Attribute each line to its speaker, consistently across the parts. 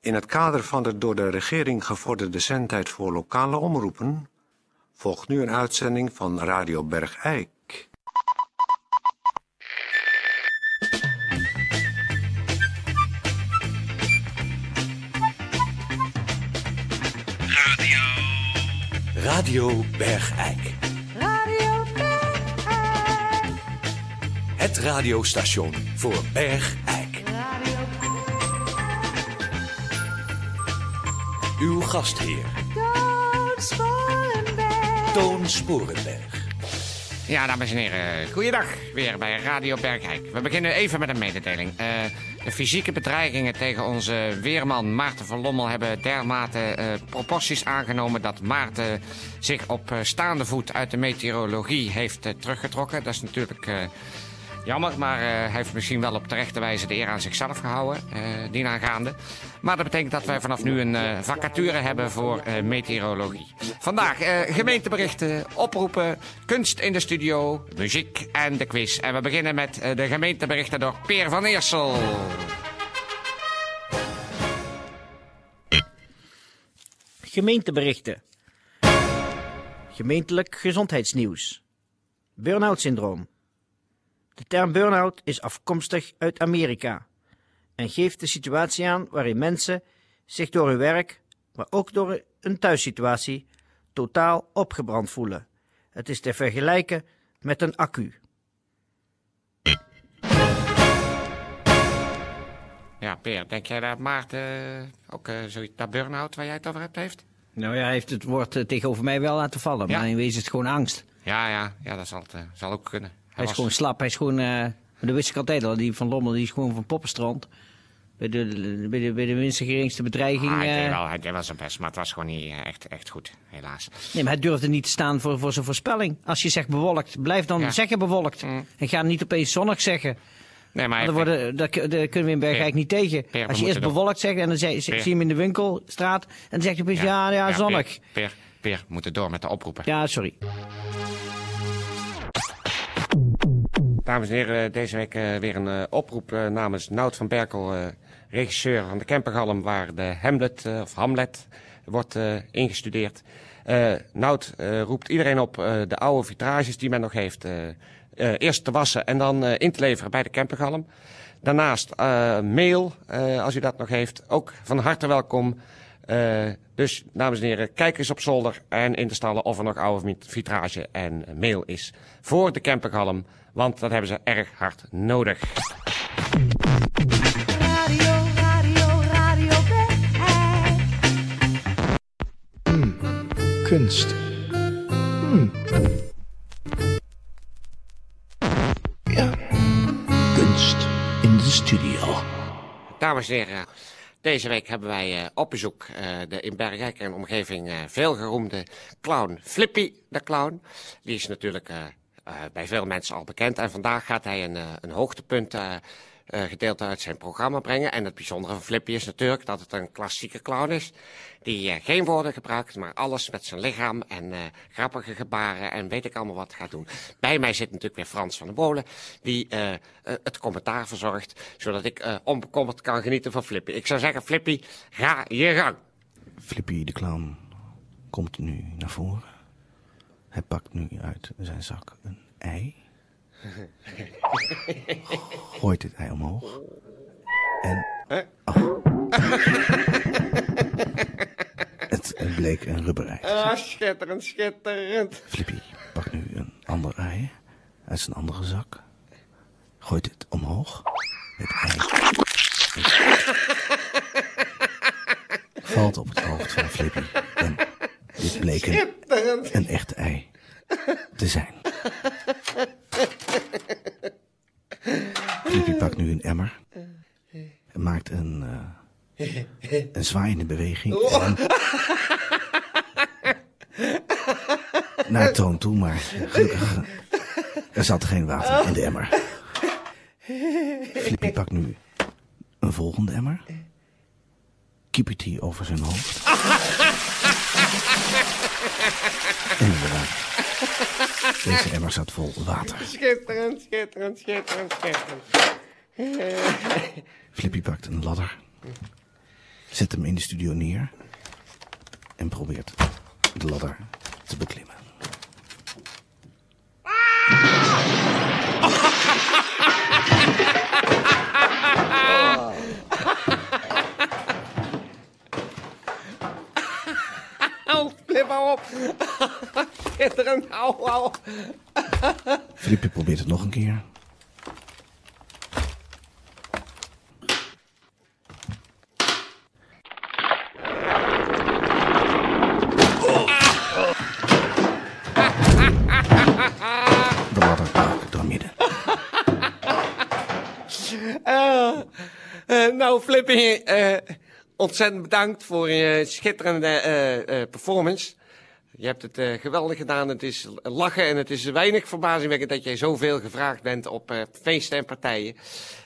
Speaker 1: In het kader van de door de regering gevorderde zendtijd voor lokale omroepen volgt nu een uitzending van Radio Bergijk.
Speaker 2: Radio Bergijk.
Speaker 3: Radio Bergijk.
Speaker 2: Het radiostation voor Bergijk.
Speaker 3: Radio
Speaker 2: Uw gastheer,
Speaker 3: Toon Sporenberg.
Speaker 2: Toon Sporenberg.
Speaker 4: Ja, dames en heren, goeiedag weer bij Radio Bergijk. We beginnen even met een mededeling. Eh, de fysieke bedreigingen tegen onze weerman Maarten van Lommel hebben dermate eh, proporties aangenomen dat Maarten zich op eh, staande voet uit de meteorologie heeft eh, teruggetrokken. Dat is natuurlijk eh, jammer, maar eh, hij heeft misschien wel op terechte wijze de eer aan zichzelf gehouden, eh dienaangaande. Maar dat betekent dat wij vanaf nu een eh, vacature hebben voor eh, meteorologie. Vandaag eh, gemeenteberichten, oproepen, kunst in de studio, muziek en de quiz. En we beginnen met eh, de gemeenteberichten door Peer van Eersel.
Speaker 5: Gemeenteberichten. Gemeentelijk gezondheidsnieuws. Burn-out syndroom. De term burn-out is afkomstig uit Amerika en geeft de situatie aan waarin mensen zich door hun werk, maar ook door een thuissituatie, totaal opgebrand voelen. Het is te vergelijken met een accu.
Speaker 4: Ja, Peer, denk jij dat Maarten eh, ook eh, zoiets, dat burn-out waar jij het over hebt heeft?
Speaker 6: Nou ja, hij heeft het woord eh, tegenover mij wel laten vallen.
Speaker 4: Ja.
Speaker 6: Maar in wezen is het gewoon angst. Hij,
Speaker 4: Ja, ja, ja dat zal, het, eh, zal ook kunnen. Hij,
Speaker 6: is
Speaker 4: was-
Speaker 6: gewoon slap. Hij is gewoon. eh, maar dat wist ik altijd al. Die van Lommel die is gewoon van poppenstrand. Bij de, bij de, bij de minste geringste bedreiging.
Speaker 4: Ah, hij,
Speaker 6: eh,
Speaker 4: deed wel, hij deed wel zijn best, maar het was gewoon niet eh, echt, echt goed, helaas.
Speaker 6: nee, maar hij durfde niet te staan voor, voor zijn voorspelling. Als je zegt bewolkt, blijf dan
Speaker 4: Ja. Mm.
Speaker 6: zeggen bewolkt. En ga niet opeens zonnig zeggen.
Speaker 4: Nee, maar hij
Speaker 6: Want dan
Speaker 4: heeft-
Speaker 6: worden, daar, kun- daar kunnen we in Bergijk
Speaker 4: Peer.
Speaker 6: niet tegen.
Speaker 4: Peer,
Speaker 6: Als je
Speaker 4: we
Speaker 6: eerst
Speaker 4: moeten nog-
Speaker 6: bewolkt zegt en dan zei- zie
Speaker 4: Peer.
Speaker 6: zie je hem in de winkelstraat. En dan zegt hij opeens ja, ja, zonnig.
Speaker 4: Peer, Peer, Peer, we moeten door met de oproepen.
Speaker 6: Ja, sorry.
Speaker 4: Dames en heren, eh, deze week eh, weer een eh, oproep eh, namens Nout van Berkel, eh, regisseur van de Kempergalm, waar de Hamlet, eh, of Hamlet, wordt eh, ingestudeerd. Eh Nout eh, roept iedereen op eh, de oude vitrages die men nog heeft eh, eh, eerst te wassen en dan eh, in te leveren bij de Kempergalm. Daarnaast eh, mail, eh, als u dat nog heeft, ook van harte welkom. Eh, dus, dames en heren, kijk eens op zolder en in de stallen of er nog oude vit- vitrage en meel is voor de campergalm. Want dat hebben ze erg hard nodig.
Speaker 3: Radio, radio, radio Bergijk.
Speaker 7: kunst. Hmm. Ja, kunst in de studio.
Speaker 4: Dames en heren, deze week hebben wij eh, op bezoek eh, de in Bergijk en omgeving eh, veelgeroemde clown Flippy de Clown. Die is natuurlijk eh, eh, bij veel mensen al bekend en vandaag gaat hij een, eh, een hoogtepunt eh, eh, gedeelte uit zijn programma brengen. En het bijzondere van Flippy is natuurlijk dat het een klassieke clown is. Die eh, geen woorden gebruikt, maar alles met zijn lichaam en eh, grappige gebaren en weet ik allemaal wat gaat doen. Bij mij zit natuurlijk weer Frans van der Bolen, die eh, eh, het commentaar verzorgt, zodat ik eh, onbekommerd kan genieten van Flippy. Ik zou zeggen, Flippy, ga je gang.
Speaker 8: Flippy de clown komt nu naar voren. Hij pakt nu uit zijn zak een ei. Gooit het ei omhoog. En. Oh. Het bleek een rubberei.
Speaker 4: Ah, schitterend, schitterend.
Speaker 8: Flippy pakt nu een ander ei uit zijn andere zak. Gooit het omhoog. Het ei. Valt op het hoofd van Flippy. En dit bleek een, een echt ei te zijn. Flippy pakt nu een emmer. En maakt een, eh, een zwaaiende beweging. En naar Toon toe, maar gelukkig eh, er zat geen water in de emmer. Flippy pakt nu een volgende emmer. Kiepert die over zijn hoofd. En inderdaad, deze emmer zat vol water.
Speaker 4: Schitterend, schitterend, schitterend, schitterend.
Speaker 8: Flippy pakt een ladder.
Speaker 6: zet hem in de studio neer en probeert de ladder te beklimmen.
Speaker 4: Au, flip maar op. Schitterend, au, au.
Speaker 6: Filipje probeert het nog een keer. De ladder brak door midden.
Speaker 4: Eh, nou, Flippy, eh, ontzettend bedankt voor je schitterende eh, eh, performance. Je hebt het eh, geweldig gedaan. Het is lachen en het is weinig verbazingwekkend dat jij zoveel gevraagd bent op eh, feesten en partijen.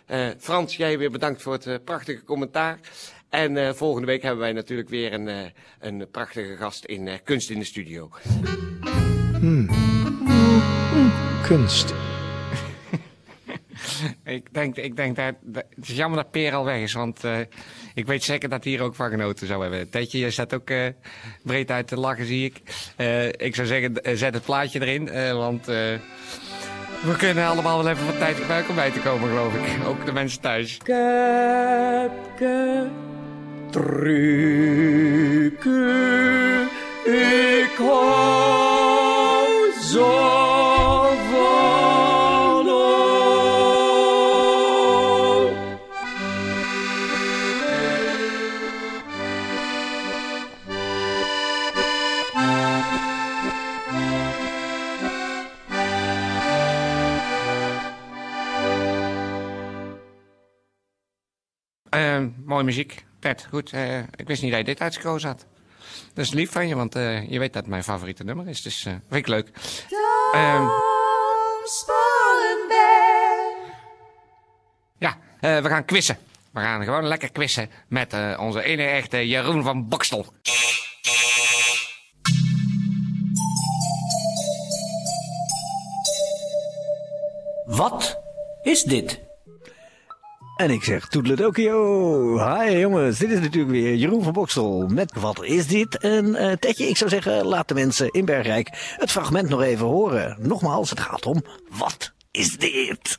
Speaker 4: Eh, Frans, jij weer bedankt voor het eh, prachtige commentaar. En eh, volgende week hebben wij natuurlijk weer een, eh, een prachtige gast in eh, Kunst in de Studio.
Speaker 9: Kunst.
Speaker 4: Ik denk, ik denk dat, dat- Het is jammer dat Peer al weg is, want eh, ik weet zeker dat hij hier ook van genoten zou hebben. Tetje, je staat ook eh, breed uit te lachen, zie ik. Eh, ik zou zeggen, eh, zet het plaatje erin, eh, want eh, we kunnen allemaal wel even wat tijd gebruiken om bij te komen, geloof ik. Ook de mensen thuis. Kepke, truke, ik hou zo Eh, mooie muziek. Ted, goed. eh, ik wist niet dat je dit uitgekozen had. Dat is lief van je, want eh, je weet dat het mijn favoriete nummer is. Dus eh vind ik leuk. Ehm,
Speaker 3: Toon Sporenberg.
Speaker 4: ja, eh, we gaan quizzen. We gaan gewoon lekker quizzen met eh, onze ene echte Jeroen van Bokstel.
Speaker 10: Wat is dit?
Speaker 6: En ik zeg toedeledokio. Hi jongens, dit is natuurlijk weer Jeroen van Boksel met Wat is dit? En eh, Tetje, ik zou zeggen, laat de mensen in Bergrijk het fragment nog even horen. Nogmaals, het gaat om Wat is dit?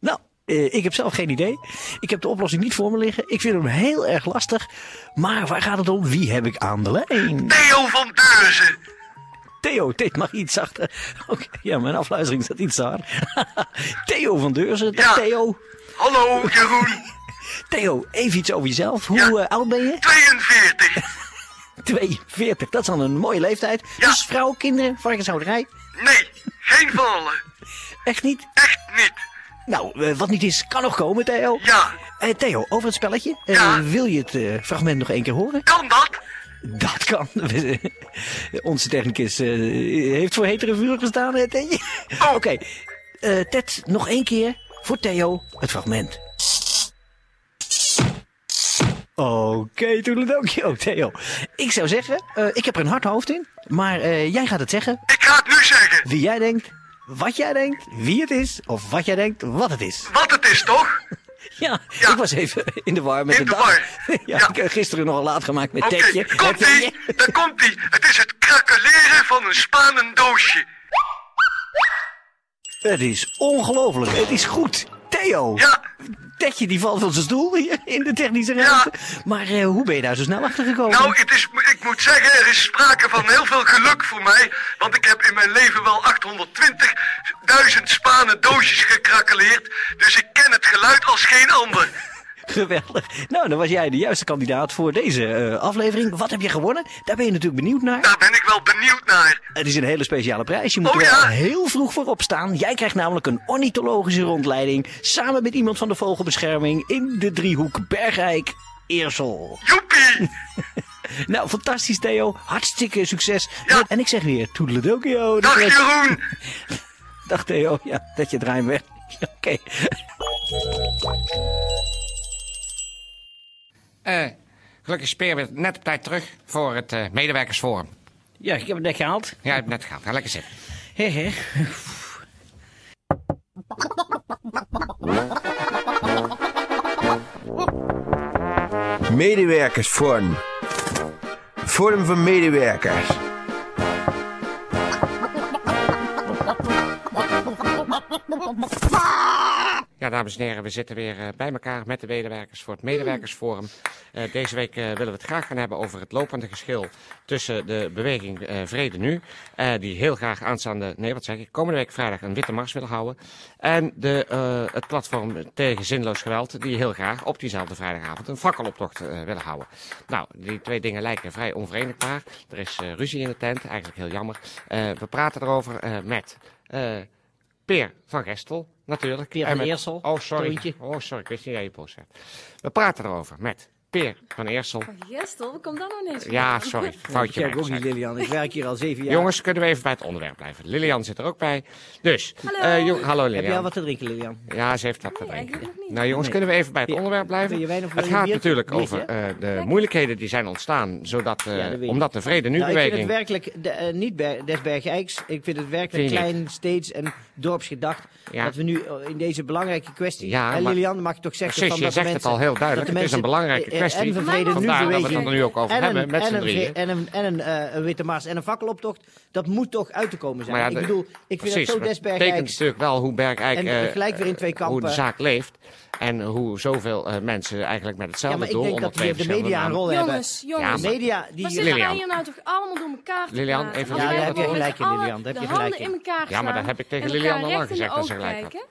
Speaker 6: Nou, eh, ik heb zelf geen idee. Ik heb de oplossing niet voor me liggen. Ik vind hem heel erg lastig. Maar waar gaat het om? Wie heb ik aan de lijn?
Speaker 11: Theo van Deurzen.
Speaker 6: Theo, dit mag iets zachter. Oké, ja, mijn afluistering staat iets te hard. Theo van Deurzen. Dag,
Speaker 11: Ja.
Speaker 6: Theo.
Speaker 11: Hallo Jeroen,
Speaker 6: Theo, even iets over jezelf. Hoe
Speaker 11: Ja.
Speaker 6: eh, oud ben je?
Speaker 11: 42.
Speaker 6: 42, dat is al een mooie leeftijd.
Speaker 11: Ja.
Speaker 6: Dus vrouw, kinderen, varkenshouderij?
Speaker 11: Nee, geen vallen.
Speaker 6: Echt niet?
Speaker 11: Echt niet.
Speaker 6: Nou, eh, wat niet is, kan nog komen, Theo.
Speaker 11: Ja,
Speaker 6: Eh, Theo, over het spelletje. Eh,
Speaker 11: Ja.
Speaker 6: wil je het eh, fragment nog één keer horen?
Speaker 11: kan dat?
Speaker 6: Dat kan. Onze technicus eh, heeft voor hetere vuur gestaan, hè, Tedje? Oké, Eh, Ted, nog één keer voor Theo het fragment. Oké, toen het ook Yo, Theo. Ik zou zeggen, eh, ik heb er een hard hoofd in, maar eh, jij gaat het zeggen
Speaker 11: Ik ga het nu zeggen.
Speaker 6: wie jij denkt, wat jij denkt, wie het is of wat jij denkt, wat het is.
Speaker 11: Wat het is toch?
Speaker 6: Ja,
Speaker 11: Ja.
Speaker 6: ik was even in de war met
Speaker 11: In
Speaker 6: de,
Speaker 11: de
Speaker 6: dag.
Speaker 11: war.
Speaker 6: Ja,
Speaker 11: Ja.
Speaker 6: ik heb gisteren nogal laat gemaakt met
Speaker 11: Oké,
Speaker 6: Tedje.
Speaker 11: komt ie. Daar komt ie. Het is het krakeleren van een spanendoosje.
Speaker 6: Het is ongelooflijk. Het is goed. Theo.
Speaker 11: Ja.
Speaker 6: Tetje die valt van zijn stoel hier in de technische ruimte. Maar eh, hoe ben je daar zo snel achter gekomen?
Speaker 11: Nou, het is, ik moet zeggen, er is sprake van heel veel geluk voor mij. Want ik heb in mijn leven wel 820.000 spanen doosjes gekrakeleerd. Dus ik ken het geluid als geen ander.
Speaker 6: Geweldig. Nou, dan was jij de juiste kandidaat voor deze eh, aflevering. Wat heb je gewonnen? Daar ben je natuurlijk benieuwd naar.
Speaker 11: Daar ben ik wel benieuwd naar.
Speaker 6: Het is een hele speciale prijs. Je moet
Speaker 11: Oh,
Speaker 6: er wel
Speaker 11: ja?
Speaker 6: heel vroeg voor opstaan. Jij krijgt namelijk een ornithologische rondleiding. Samen met iemand van de vogelbescherming in de driehoek Bergrijk. Eersel.
Speaker 11: Joepie!
Speaker 6: Nou, fantastisch Theo. Hartstikke succes.
Speaker 11: Ja.
Speaker 6: En ik zeg weer, oh, toedeledokio.
Speaker 11: Dag Jeroen!
Speaker 6: Dag Theo, ja, dat je draait weg. Oké.
Speaker 4: Eh, gelukkig is Peer weer net op tijd terug voor het eh, medewerkersforum.
Speaker 10: Ja, ik heb het net gehaald.
Speaker 4: Ja, je hebt net gehaald. Ga lekker zitten.
Speaker 10: Hé, hé.
Speaker 12: Medewerkers vorm. Vorm van medewerkers.
Speaker 4: Ja, dames en heren, we zitten weer eh, bij elkaar met de medewerkers voor het Medewerkersforum. Eh, deze week eh, willen we het graag gaan hebben over het lopende geschil tussen de beweging eh, Vrede Nu, eh, die heel graag aanstaande, nee wat zeg ik, komende week vrijdag een witte mars wil houden. En de, eh, het platform tegen zinloos geweld, die heel graag op diezelfde vrijdagavond een fakkeloptocht eh, willen houden. Nou, die twee dingen lijken vrij onverenigbaar. Er is eh, ruzie in de tent, eigenlijk heel jammer. Eh, we praten erover eh, met... eh, Peer van Gestel, natuurlijk.
Speaker 6: Peer
Speaker 4: En
Speaker 6: van
Speaker 4: met-
Speaker 6: Eersel,
Speaker 4: Oh, sorry.
Speaker 6: Toontje.
Speaker 4: Oh, sorry. Ik wist niet dat je boos werd. We praten erover met Peer van Eersel.
Speaker 13: Jestel, hoe komt dat nou ineens?
Speaker 4: Ja, sorry. Foutje.
Speaker 6: ik
Speaker 4: bij
Speaker 6: ook
Speaker 4: me,
Speaker 6: niet,
Speaker 4: zei ik.
Speaker 6: Lilian. Ik werk hier al zeven jaar.
Speaker 4: Jongens, kunnen we even bij het onderwerp blijven? Lilian zit er ook bij. Dus,
Speaker 13: Hallo.
Speaker 4: eh, jong- hallo Lilian.
Speaker 6: Heb jij wat te drinken, Lilian?
Speaker 4: Ja, ze heeft wat te
Speaker 13: Nee,
Speaker 4: drinken.
Speaker 13: eigenlijk niet.
Speaker 4: Nou jongens,
Speaker 6: Nee.
Speaker 4: kunnen we even bij het
Speaker 6: Wil je-
Speaker 4: onderwerp blijven?
Speaker 6: wil je wijn of wil
Speaker 4: het
Speaker 6: je een
Speaker 4: gaat
Speaker 6: biertje?
Speaker 4: natuurlijk
Speaker 6: Biertje?
Speaker 4: over eh, de moeilijkheden die zijn ontstaan, zodat, eh,
Speaker 6: Ja, dat weet ik.
Speaker 4: omdat de Vrede
Speaker 6: Nou, ik vind het
Speaker 4: Nu-beweging...
Speaker 6: werkelijk de, eh, niet ber- des Bergen Eiks. Ik vind het werkelijk
Speaker 4: Vind je niet?
Speaker 6: klein, steeds en dorpsgedacht.
Speaker 4: Ja,
Speaker 6: Dat we nu eh, in deze belangrijke kwestie.
Speaker 4: Ja,
Speaker 6: en
Speaker 4: maar-
Speaker 6: Lilian, mag je toch zeggen.
Speaker 4: Precies,
Speaker 6: van
Speaker 4: je
Speaker 6: dat de
Speaker 4: zegt het
Speaker 6: mensen-
Speaker 4: al heel duidelijk.
Speaker 6: dat de
Speaker 4: Het is een
Speaker 6: mensen,
Speaker 4: belangrijke
Speaker 6: eh,
Speaker 4: kwestie.
Speaker 6: En van vrede nu
Speaker 4: Vandaar dat we het
Speaker 6: beweging.
Speaker 4: er nu ook over
Speaker 6: en
Speaker 4: hebben,
Speaker 6: een,
Speaker 4: met
Speaker 6: en
Speaker 4: z'n
Speaker 6: een
Speaker 4: drieën.
Speaker 6: vre- En een, en een, eh, een witte maas en een fakkeloptocht. Dat moet toch uit te komen zijn.
Speaker 4: Maar ja,
Speaker 6: ik
Speaker 4: de-
Speaker 6: bedoel, ik vind
Speaker 4: Precies,
Speaker 6: het zo
Speaker 4: maar
Speaker 6: des
Speaker 4: het
Speaker 6: Bergen
Speaker 4: betekent
Speaker 6: Eiks.
Speaker 4: natuurlijk wel hoe Bergijk...
Speaker 6: En,
Speaker 4: eh,
Speaker 6: eh, gelijk weer in twee
Speaker 4: Hoe de
Speaker 6: kampen.
Speaker 4: zaak leeft. En hoe zoveel eh, mensen eigenlijk met hetzelfde
Speaker 6: Ja, maar ik
Speaker 4: doel...
Speaker 6: denk
Speaker 4: onder
Speaker 6: dat hier
Speaker 4: twee
Speaker 6: de media een
Speaker 4: verschillende
Speaker 6: rol hebben.
Speaker 13: Jongens, jongens.
Speaker 6: De
Speaker 4: maar-
Speaker 6: media die hier...
Speaker 13: Wat zitten
Speaker 4: Lilian.
Speaker 13: wij hier nou toch allemaal door elkaar te
Speaker 4: Lilian,
Speaker 13: praten?
Speaker 4: even-
Speaker 13: Want
Speaker 4: Ja,
Speaker 13: wij
Speaker 4: daar heb je
Speaker 13: worden
Speaker 6: gelijk in,
Speaker 13: met z'n
Speaker 6: Lilian.
Speaker 13: allen
Speaker 6: Daar heb je
Speaker 13: de handen
Speaker 6: gelijk in.
Speaker 13: in elkaar
Speaker 4: Ja, maar dat
Speaker 13: slaan
Speaker 4: heb ik tegen
Speaker 13: en
Speaker 4: Lilian
Speaker 13: elkaar
Speaker 4: al lang
Speaker 13: recht in de
Speaker 4: gezegd dat ze
Speaker 13: ogen
Speaker 4: gelijk had.
Speaker 13: kijken.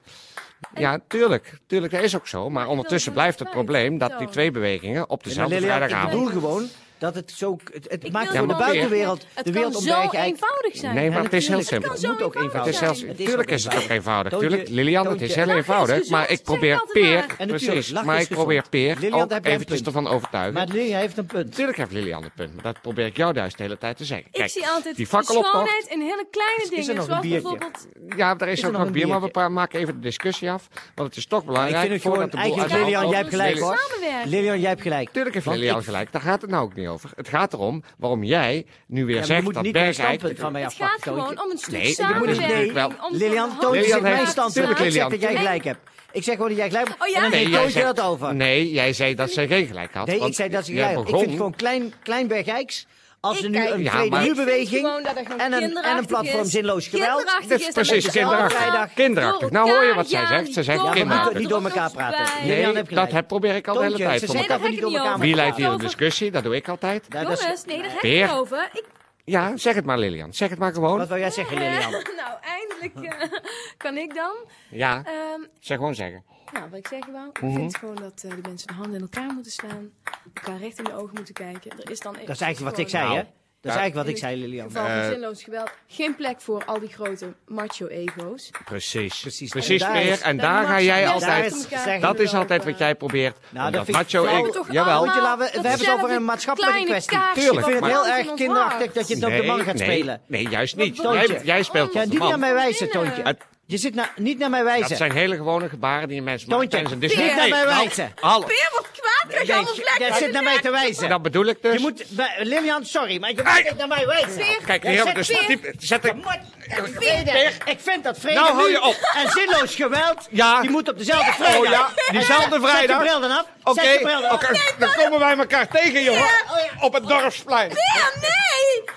Speaker 4: namen. Ja, tuurlijk. Tuurlijk, dat is ook zo. Maar
Speaker 13: wil
Speaker 4: ondertussen
Speaker 13: het wel
Speaker 4: blijft het
Speaker 13: kwijt,
Speaker 4: probleem dat die
Speaker 13: Toon.
Speaker 4: twee bewegingen op
Speaker 6: Maar
Speaker 4: dezelfde
Speaker 6: Lilian, ik
Speaker 4: vrijdagavond...
Speaker 6: bedoel gewoon dat het zo... Het, het
Speaker 13: Ik
Speaker 6: maakt
Speaker 13: wil
Speaker 6: voor de
Speaker 13: gewoon zeggen,
Speaker 6: buitenwereld...
Speaker 13: Het
Speaker 6: de wereld
Speaker 13: kan
Speaker 6: om
Speaker 13: zo
Speaker 6: Bergen Eiks-
Speaker 13: eenvoudig zijn.
Speaker 4: Nee, maar
Speaker 6: Ja,
Speaker 4: het is heel
Speaker 6: natuurlijk.
Speaker 4: simpel.
Speaker 13: kan
Speaker 6: Het
Speaker 13: zo
Speaker 6: moet ook
Speaker 4: Het
Speaker 13: eenvoudig
Speaker 6: eenvoudig zijn.
Speaker 4: is
Speaker 13: zijn.
Speaker 4: zelfs,
Speaker 6: Het is
Speaker 4: tuurlijk
Speaker 6: ook
Speaker 4: is het ook
Speaker 6: eenvoudig.
Speaker 4: eenvoudig.
Speaker 6: Toontje-
Speaker 4: Tuurlijk, Lilian, het is
Speaker 6: Toontje-
Speaker 4: heel
Speaker 13: Lach is
Speaker 4: eenvoudig.
Speaker 13: gezond,
Speaker 4: Maar ik
Speaker 13: zeg
Speaker 4: probeer
Speaker 13: altijd
Speaker 4: Peer,
Speaker 13: maar. En
Speaker 6: natuurlijk,
Speaker 4: precies,
Speaker 6: lach
Speaker 4: maar
Speaker 6: is
Speaker 4: ik probeer
Speaker 6: gezond.
Speaker 4: Peer
Speaker 6: Lilian,
Speaker 4: ook
Speaker 6: daar heb jij een
Speaker 4: eventjes
Speaker 6: punt.
Speaker 4: ervan overtuigen.
Speaker 6: Maar Lilian heeft een punt.
Speaker 4: Natuurlijk heeft Lilian een punt, maar dat probeer ik jou juist de hele tijd te zeggen.
Speaker 13: Ik zie altijd
Speaker 4: die
Speaker 13: de
Speaker 4: fakkeloptocht-
Speaker 13: schoonheid in hele kleine
Speaker 6: er
Speaker 13: dingen.
Speaker 6: nog een
Speaker 13: Zoals
Speaker 6: biertje?
Speaker 13: bijvoorbeeld...
Speaker 4: Ja, er is, ook
Speaker 6: nog
Speaker 4: nog
Speaker 6: een
Speaker 4: bier, maar we
Speaker 6: biertje?
Speaker 4: pa- maken even de discussie af. Want het is toch belangrijk.
Speaker 6: Ik vind het
Speaker 4: voordat
Speaker 6: gewoon...
Speaker 4: de boel
Speaker 6: Eigenlijk,
Speaker 4: uit de
Speaker 6: Lilian,
Speaker 4: hand
Speaker 6: jij hebt
Speaker 4: loopt.
Speaker 6: gelijk hoor.
Speaker 13: Samenwerken.
Speaker 6: Lilian, jij hebt gelijk.
Speaker 4: Tuurlijk heeft
Speaker 6: Want
Speaker 4: Lilian
Speaker 6: ik-
Speaker 4: gelijk. Daar gaat het nou ook niet over. Het gaat erom waarom jij nu weer
Speaker 6: Ja, maar je
Speaker 4: zegt
Speaker 6: moet
Speaker 4: dat
Speaker 6: niet mijn
Speaker 4: Bergijk...
Speaker 6: standpunt van mij
Speaker 13: Het gaat
Speaker 6: afpakken.
Speaker 13: gewoon om een stuk
Speaker 4: Nee, dat moet ik
Speaker 13: samenwerking.
Speaker 4: natuurlijk wel.
Speaker 13: om
Speaker 6: Lilian,
Speaker 13: van
Speaker 6: Toontje
Speaker 4: Lilian
Speaker 6: zegt
Speaker 13: handen
Speaker 6: mijn
Speaker 4: heeft-
Speaker 6: standpunt.
Speaker 4: Tuurlijk,
Speaker 6: Ik zeg
Speaker 4: Lilian.
Speaker 6: dat jij
Speaker 13: En-
Speaker 6: gelijk hebt. Ik zeg gewoon dat jij gelijk hebt.
Speaker 13: Oh ja?
Speaker 6: En dan
Speaker 13: Nee,
Speaker 6: neemt
Speaker 13: jij
Speaker 6: Toontje
Speaker 4: zegt-
Speaker 6: dat over.
Speaker 4: Nee, jij zei dat zij geen gelijk had.
Speaker 6: Nee,
Speaker 4: want
Speaker 6: ik zei dat ze
Speaker 4: jij
Speaker 6: gelijk. Ik vind het
Speaker 4: begon-
Speaker 6: gewoon klein, klein Bergijks. Als
Speaker 13: Ik
Speaker 6: er nu
Speaker 13: kijk-
Speaker 6: een
Speaker 4: Ja,
Speaker 6: vrede
Speaker 4: maar-
Speaker 6: nu
Speaker 13: Ik vind
Speaker 6: beweging
Speaker 13: gewoon dat het gewoon
Speaker 6: en een, en een
Speaker 13: kinderachtig
Speaker 6: platform
Speaker 13: is.
Speaker 6: zinloos geweld.
Speaker 13: Kinderachtig
Speaker 4: Dit
Speaker 13: is
Speaker 4: is
Speaker 13: dat
Speaker 4: precies
Speaker 13: mensen
Speaker 4: kinderachtig.
Speaker 13: allemaal
Speaker 4: Kinderachtig. Nou hoor je wat zij
Speaker 13: door
Speaker 4: zegt. Ze zegt
Speaker 13: elkaar
Speaker 6: Ja, maar we
Speaker 4: kinderachtig.
Speaker 6: moeten niet door elkaar praten.
Speaker 13: Nee,
Speaker 6: Lilian
Speaker 4: Nee,
Speaker 6: heeft
Speaker 4: dat
Speaker 6: gelijk.
Speaker 4: heb- probeer ik al de hele
Speaker 6: Toontje,
Speaker 4: tijd.
Speaker 6: ze
Speaker 4: voor
Speaker 6: zeggen
Speaker 13: elkaar.
Speaker 6: dat we niet door elkaar
Speaker 13: Nee,
Speaker 4: Wie
Speaker 13: dat
Speaker 4: leidt hier de
Speaker 13: over.
Speaker 4: discussie? Dat doe ik altijd.
Speaker 6: Ja, dat is-
Speaker 13: Jongens, nee, daar heb
Speaker 4: Peer.
Speaker 13: ik het over. Ik,
Speaker 4: Ja, zeg het maar Lilian. Zeg het maar
Speaker 6: Wat
Speaker 4: gewoon.
Speaker 6: wil jij zeggen, Lilian?
Speaker 13: nou, eindelijk eh, kan ik dan.
Speaker 4: Ja,
Speaker 13: Ehm,
Speaker 4: zeg gewoon zeggen.
Speaker 13: nou, wat ik zeg wel. Ik
Speaker 4: Mhm.
Speaker 13: vind gewoon dat eh, de mensen de handen in elkaar moeten slaan. Elkaar recht in de ogen moeten kijken. Er is dan
Speaker 6: Dat is eigenlijk wat ik zei,
Speaker 4: Nou,
Speaker 6: hè? Dat is eigenlijk wat ik zei, Lilian.
Speaker 13: geval
Speaker 4: Eh.
Speaker 13: van zinloos geweld. Geen plek voor al die grote macho-ego's.
Speaker 4: Precies.
Speaker 6: Precies.
Speaker 4: Precies,
Speaker 6: En daar is-
Speaker 4: Peer. En
Speaker 13: daar
Speaker 4: daar
Speaker 13: mag
Speaker 4: ga
Speaker 13: ze
Speaker 4: jij
Speaker 13: best
Speaker 4: altijd...
Speaker 13: achter elkaar
Speaker 6: zeggen.
Speaker 4: Dat is
Speaker 13: lopen.
Speaker 4: altijd wat jij probeert.
Speaker 6: Nou, dat
Speaker 4: omdat
Speaker 6: vind ik
Speaker 4: macho
Speaker 6: flauw.
Speaker 4: ik...
Speaker 13: Toch
Speaker 4: Jawel.
Speaker 13: allemaal
Speaker 6: Moet je laten- we
Speaker 13: dat
Speaker 6: hebben het over een
Speaker 13: dezelfde
Speaker 6: maatschappelijke
Speaker 13: kleine
Speaker 6: kwestie.
Speaker 13: kaarsje
Speaker 4: Tuurlijk,
Speaker 6: Ik vind het
Speaker 13: wat
Speaker 6: heel
Speaker 13: boven
Speaker 6: erg
Speaker 13: ons
Speaker 6: kinderachtig
Speaker 13: hangt.
Speaker 6: dat je het op de man gaat
Speaker 4: nee,
Speaker 6: spelen.
Speaker 4: Nee, juist niet.
Speaker 6: Toontje.
Speaker 4: Jij, jij speelt
Speaker 6: Jij
Speaker 4: als
Speaker 6: niet naar
Speaker 4: man.
Speaker 6: mij wijzen,
Speaker 13: Binnen.
Speaker 6: Toontje.
Speaker 4: Het-
Speaker 6: Je zit na- niet naar mij
Speaker 4: Dat
Speaker 6: wijzen.
Speaker 4: zijn hele gewone gebaren die een mens maakt
Speaker 6: Toontje,
Speaker 4: tijdens een
Speaker 6: niet
Speaker 4: discussie.
Speaker 6: naar mij
Speaker 4: Nee, nou,
Speaker 6: wijzen.
Speaker 4: hallo.
Speaker 13: Peer wordt kwaad, krijg je
Speaker 6: Jij
Speaker 13: allemaal vlekken.
Speaker 6: jij zit naar mij te wijzen.
Speaker 4: Dat bedoel ik dus.
Speaker 6: Je moet, bij- Lilian, sorry, maar je moet niet naar mij wijzen.
Speaker 4: Kijk,
Speaker 6: Jij
Speaker 4: hier hebben
Speaker 6: zet
Speaker 4: we dus...
Speaker 6: Peer-
Speaker 4: type- Zet
Speaker 6: Je
Speaker 4: ik...
Speaker 6: moet- Vrede. Ik vind dat vrede
Speaker 4: Nou, hou je
Speaker 6: nu
Speaker 4: op.
Speaker 6: en zinloos geweld,
Speaker 4: Ja.
Speaker 6: die moet op dezelfde vrijdag.
Speaker 4: Oh ja, diezelfde
Speaker 6: Zet je
Speaker 4: vrijdag.
Speaker 6: bril dan af.
Speaker 4: Oké,
Speaker 6: Zet je bril dan af.
Speaker 4: oké, dan komen wij elkaar tegen, jongen.
Speaker 13: oh
Speaker 4: Op het dorpsplein.
Speaker 13: Ja, nee!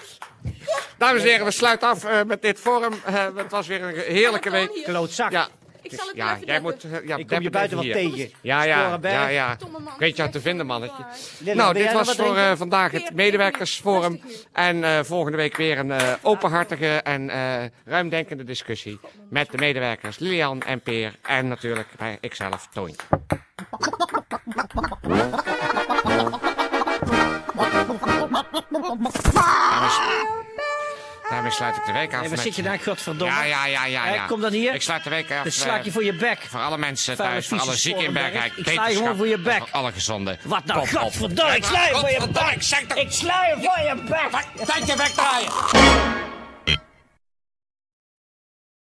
Speaker 4: Dames en heren, we sluiten af eh, met dit forum. Eh, het was weer een heerlijke
Speaker 13: Ja, dat kan
Speaker 4: week.
Speaker 13: hier.
Speaker 6: Klootzak.
Speaker 4: Ja,
Speaker 13: Ik zal het wel
Speaker 4: ja
Speaker 13: even
Speaker 4: jij
Speaker 13: deppen.
Speaker 4: moet. eh, ja,
Speaker 6: Ik kom
Speaker 4: deppen
Speaker 6: je buiten wat
Speaker 4: even hier.
Speaker 6: tegen.
Speaker 4: Ja, ja,
Speaker 6: Sporenberg.
Speaker 4: ja, ja.
Speaker 13: Domme man,
Speaker 4: Weet je wat te
Speaker 13: echt
Speaker 4: vinden,
Speaker 13: waar.
Speaker 4: mannetje.
Speaker 6: Lillian,
Speaker 4: nou,
Speaker 6: wil jij
Speaker 4: dit
Speaker 6: nog
Speaker 4: was
Speaker 6: wat
Speaker 4: voor
Speaker 6: drinken?
Speaker 4: eh, vandaag het
Speaker 13: Peer,
Speaker 4: medewerkersforum.
Speaker 13: rustig
Speaker 4: En eh, volgende week weer een eh, openhartige en eh, ruimdenkende discussie. Met de medewerkers Lilian en Peer. En natuurlijk bij ikzelf, Toontje. Dames- Daarmee sluit ik de week af.
Speaker 6: En waar
Speaker 4: met-
Speaker 6: zit je daar, godverdomme?
Speaker 4: Ja, ja, ja, ja.
Speaker 6: Hè,
Speaker 4: ja.
Speaker 6: kom dan hier.
Speaker 4: Ik sluit de week af.
Speaker 6: Dan
Speaker 4: eh,
Speaker 6: slaak je voor je bek.
Speaker 4: voor alle mensen
Speaker 6: Vuile
Speaker 4: thuis, voor alle
Speaker 6: vieze
Speaker 4: zieken in
Speaker 6: sporenberg.
Speaker 4: Bergrijk.
Speaker 6: Ik sla je gewoon voor je bek.
Speaker 4: Voor alle gezonden.
Speaker 6: Wat nou, godverdomme, ik sla je voor je bek. Ik sla je voor je bek.
Speaker 4: Tijdje wegdraaien.